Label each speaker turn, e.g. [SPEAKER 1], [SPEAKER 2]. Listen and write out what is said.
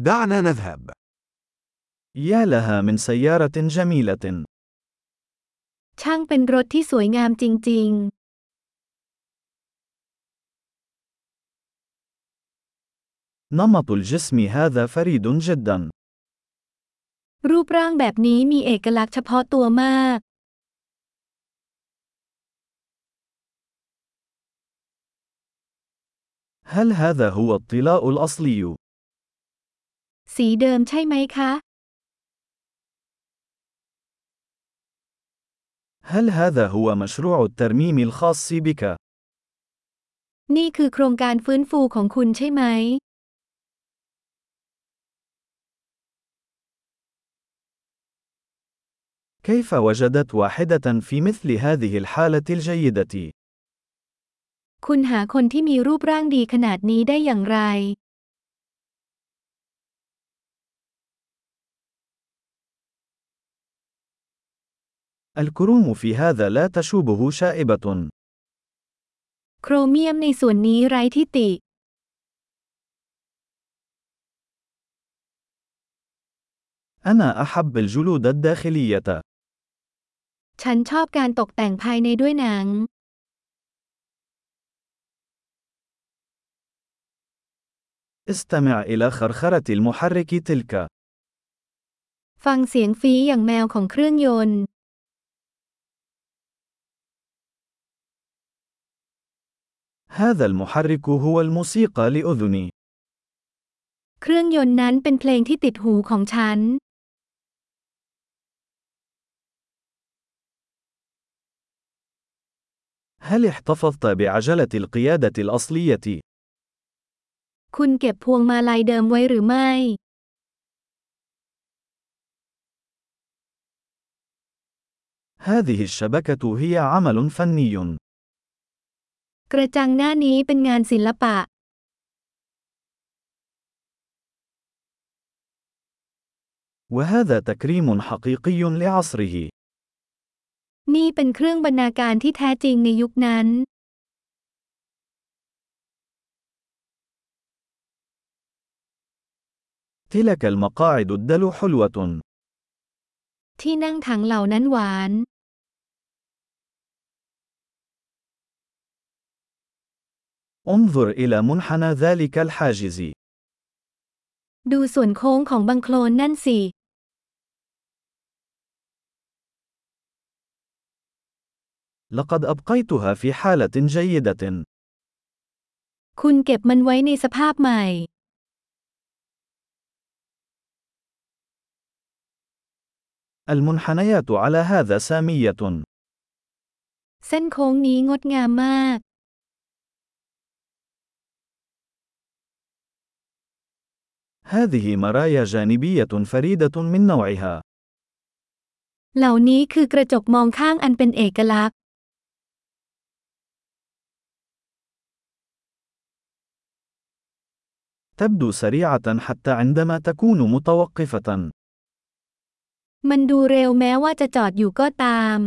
[SPEAKER 1] دعنا نذهب.
[SPEAKER 2] يا لها من سيارة جميلة.
[SPEAKER 3] ช่างเป็นรถที่สวยงามจริง
[SPEAKER 2] نمط الجسم هذا فريد جدا.
[SPEAKER 3] ๆ รูปร่างแบบนี้มีเอกลักษณ์เฉพาะตัวมาก
[SPEAKER 2] هل هذا هو الطلاء الأصلي؟
[SPEAKER 3] สีเดิมใช่ไหมคะ
[SPEAKER 2] هل هذا هو مشروع الترميم الخاص بك؟
[SPEAKER 3] นี่คือโครงการฟื้นฟูของคุณใช่ไหม
[SPEAKER 2] كيف وجدت واحدة في مثل هذه الحالة الجيدة؟
[SPEAKER 3] คุณหาคนที่มีรูปร่างดีขนาดนี้ได้อย่างไร
[SPEAKER 2] الكروم في هذا لا تشوبه شائبة.
[SPEAKER 3] โครเมียมในส่วนนี้ไร้ที่ติ
[SPEAKER 2] أنا أحب الجلود الداخلية.
[SPEAKER 3] ฉันชอบการตกแต่งภายในด้วยหนัง
[SPEAKER 2] استمع إلى خرخرة المحرك تلك.
[SPEAKER 3] ฟังเสียงฟีอย่างแมวของเครื่องยนต์
[SPEAKER 2] هذا المحرك هو الموسيقى لأذني.
[SPEAKER 3] เครื่องยนต์นั้นเป็นเพลงที่ติดหูของฉัน
[SPEAKER 2] هل احتفظت بعجلة القيادة الأصلية؟
[SPEAKER 3] คุณเก็บพวงมาลัยเดิมไว้หรือไม่
[SPEAKER 2] هذه الشبكة هي عمل فني.
[SPEAKER 3] กระจังหน้านี้เป็นงานศิลปะ
[SPEAKER 2] وهذا تكريم حقيقي لعصره.
[SPEAKER 3] นี่เป็นเครื่องบรรณาการที่แท้จริงในยุคนั้น
[SPEAKER 2] تلك المقاعد الدلو حلوة.
[SPEAKER 3] ที่นั่งถังเหล่านั้นหวาน
[SPEAKER 2] انظر إلى منحنى ذلك الحاجز.
[SPEAKER 3] ดูส่วนโค้งของบังโคลนนั่นสิ
[SPEAKER 2] لقد أبقيتها في حالة جيدة.
[SPEAKER 3] คุณเก็บมันไว้ในสภาพใหม่
[SPEAKER 2] المنحنيات على هذا سامية.
[SPEAKER 3] เส้นโค้งนี้งดงามมาก
[SPEAKER 2] هذه مرايا جانبية فريدة من نوعها.
[SPEAKER 3] เหล่านี้คือกระจกมองข้างอันเป็นเอกลักษณ์
[SPEAKER 2] تبدو سريعة حتى عندما تكون متوقفة.
[SPEAKER 3] มันดูเร็วแม้ว่าจะจอดอยู่ก็ตาม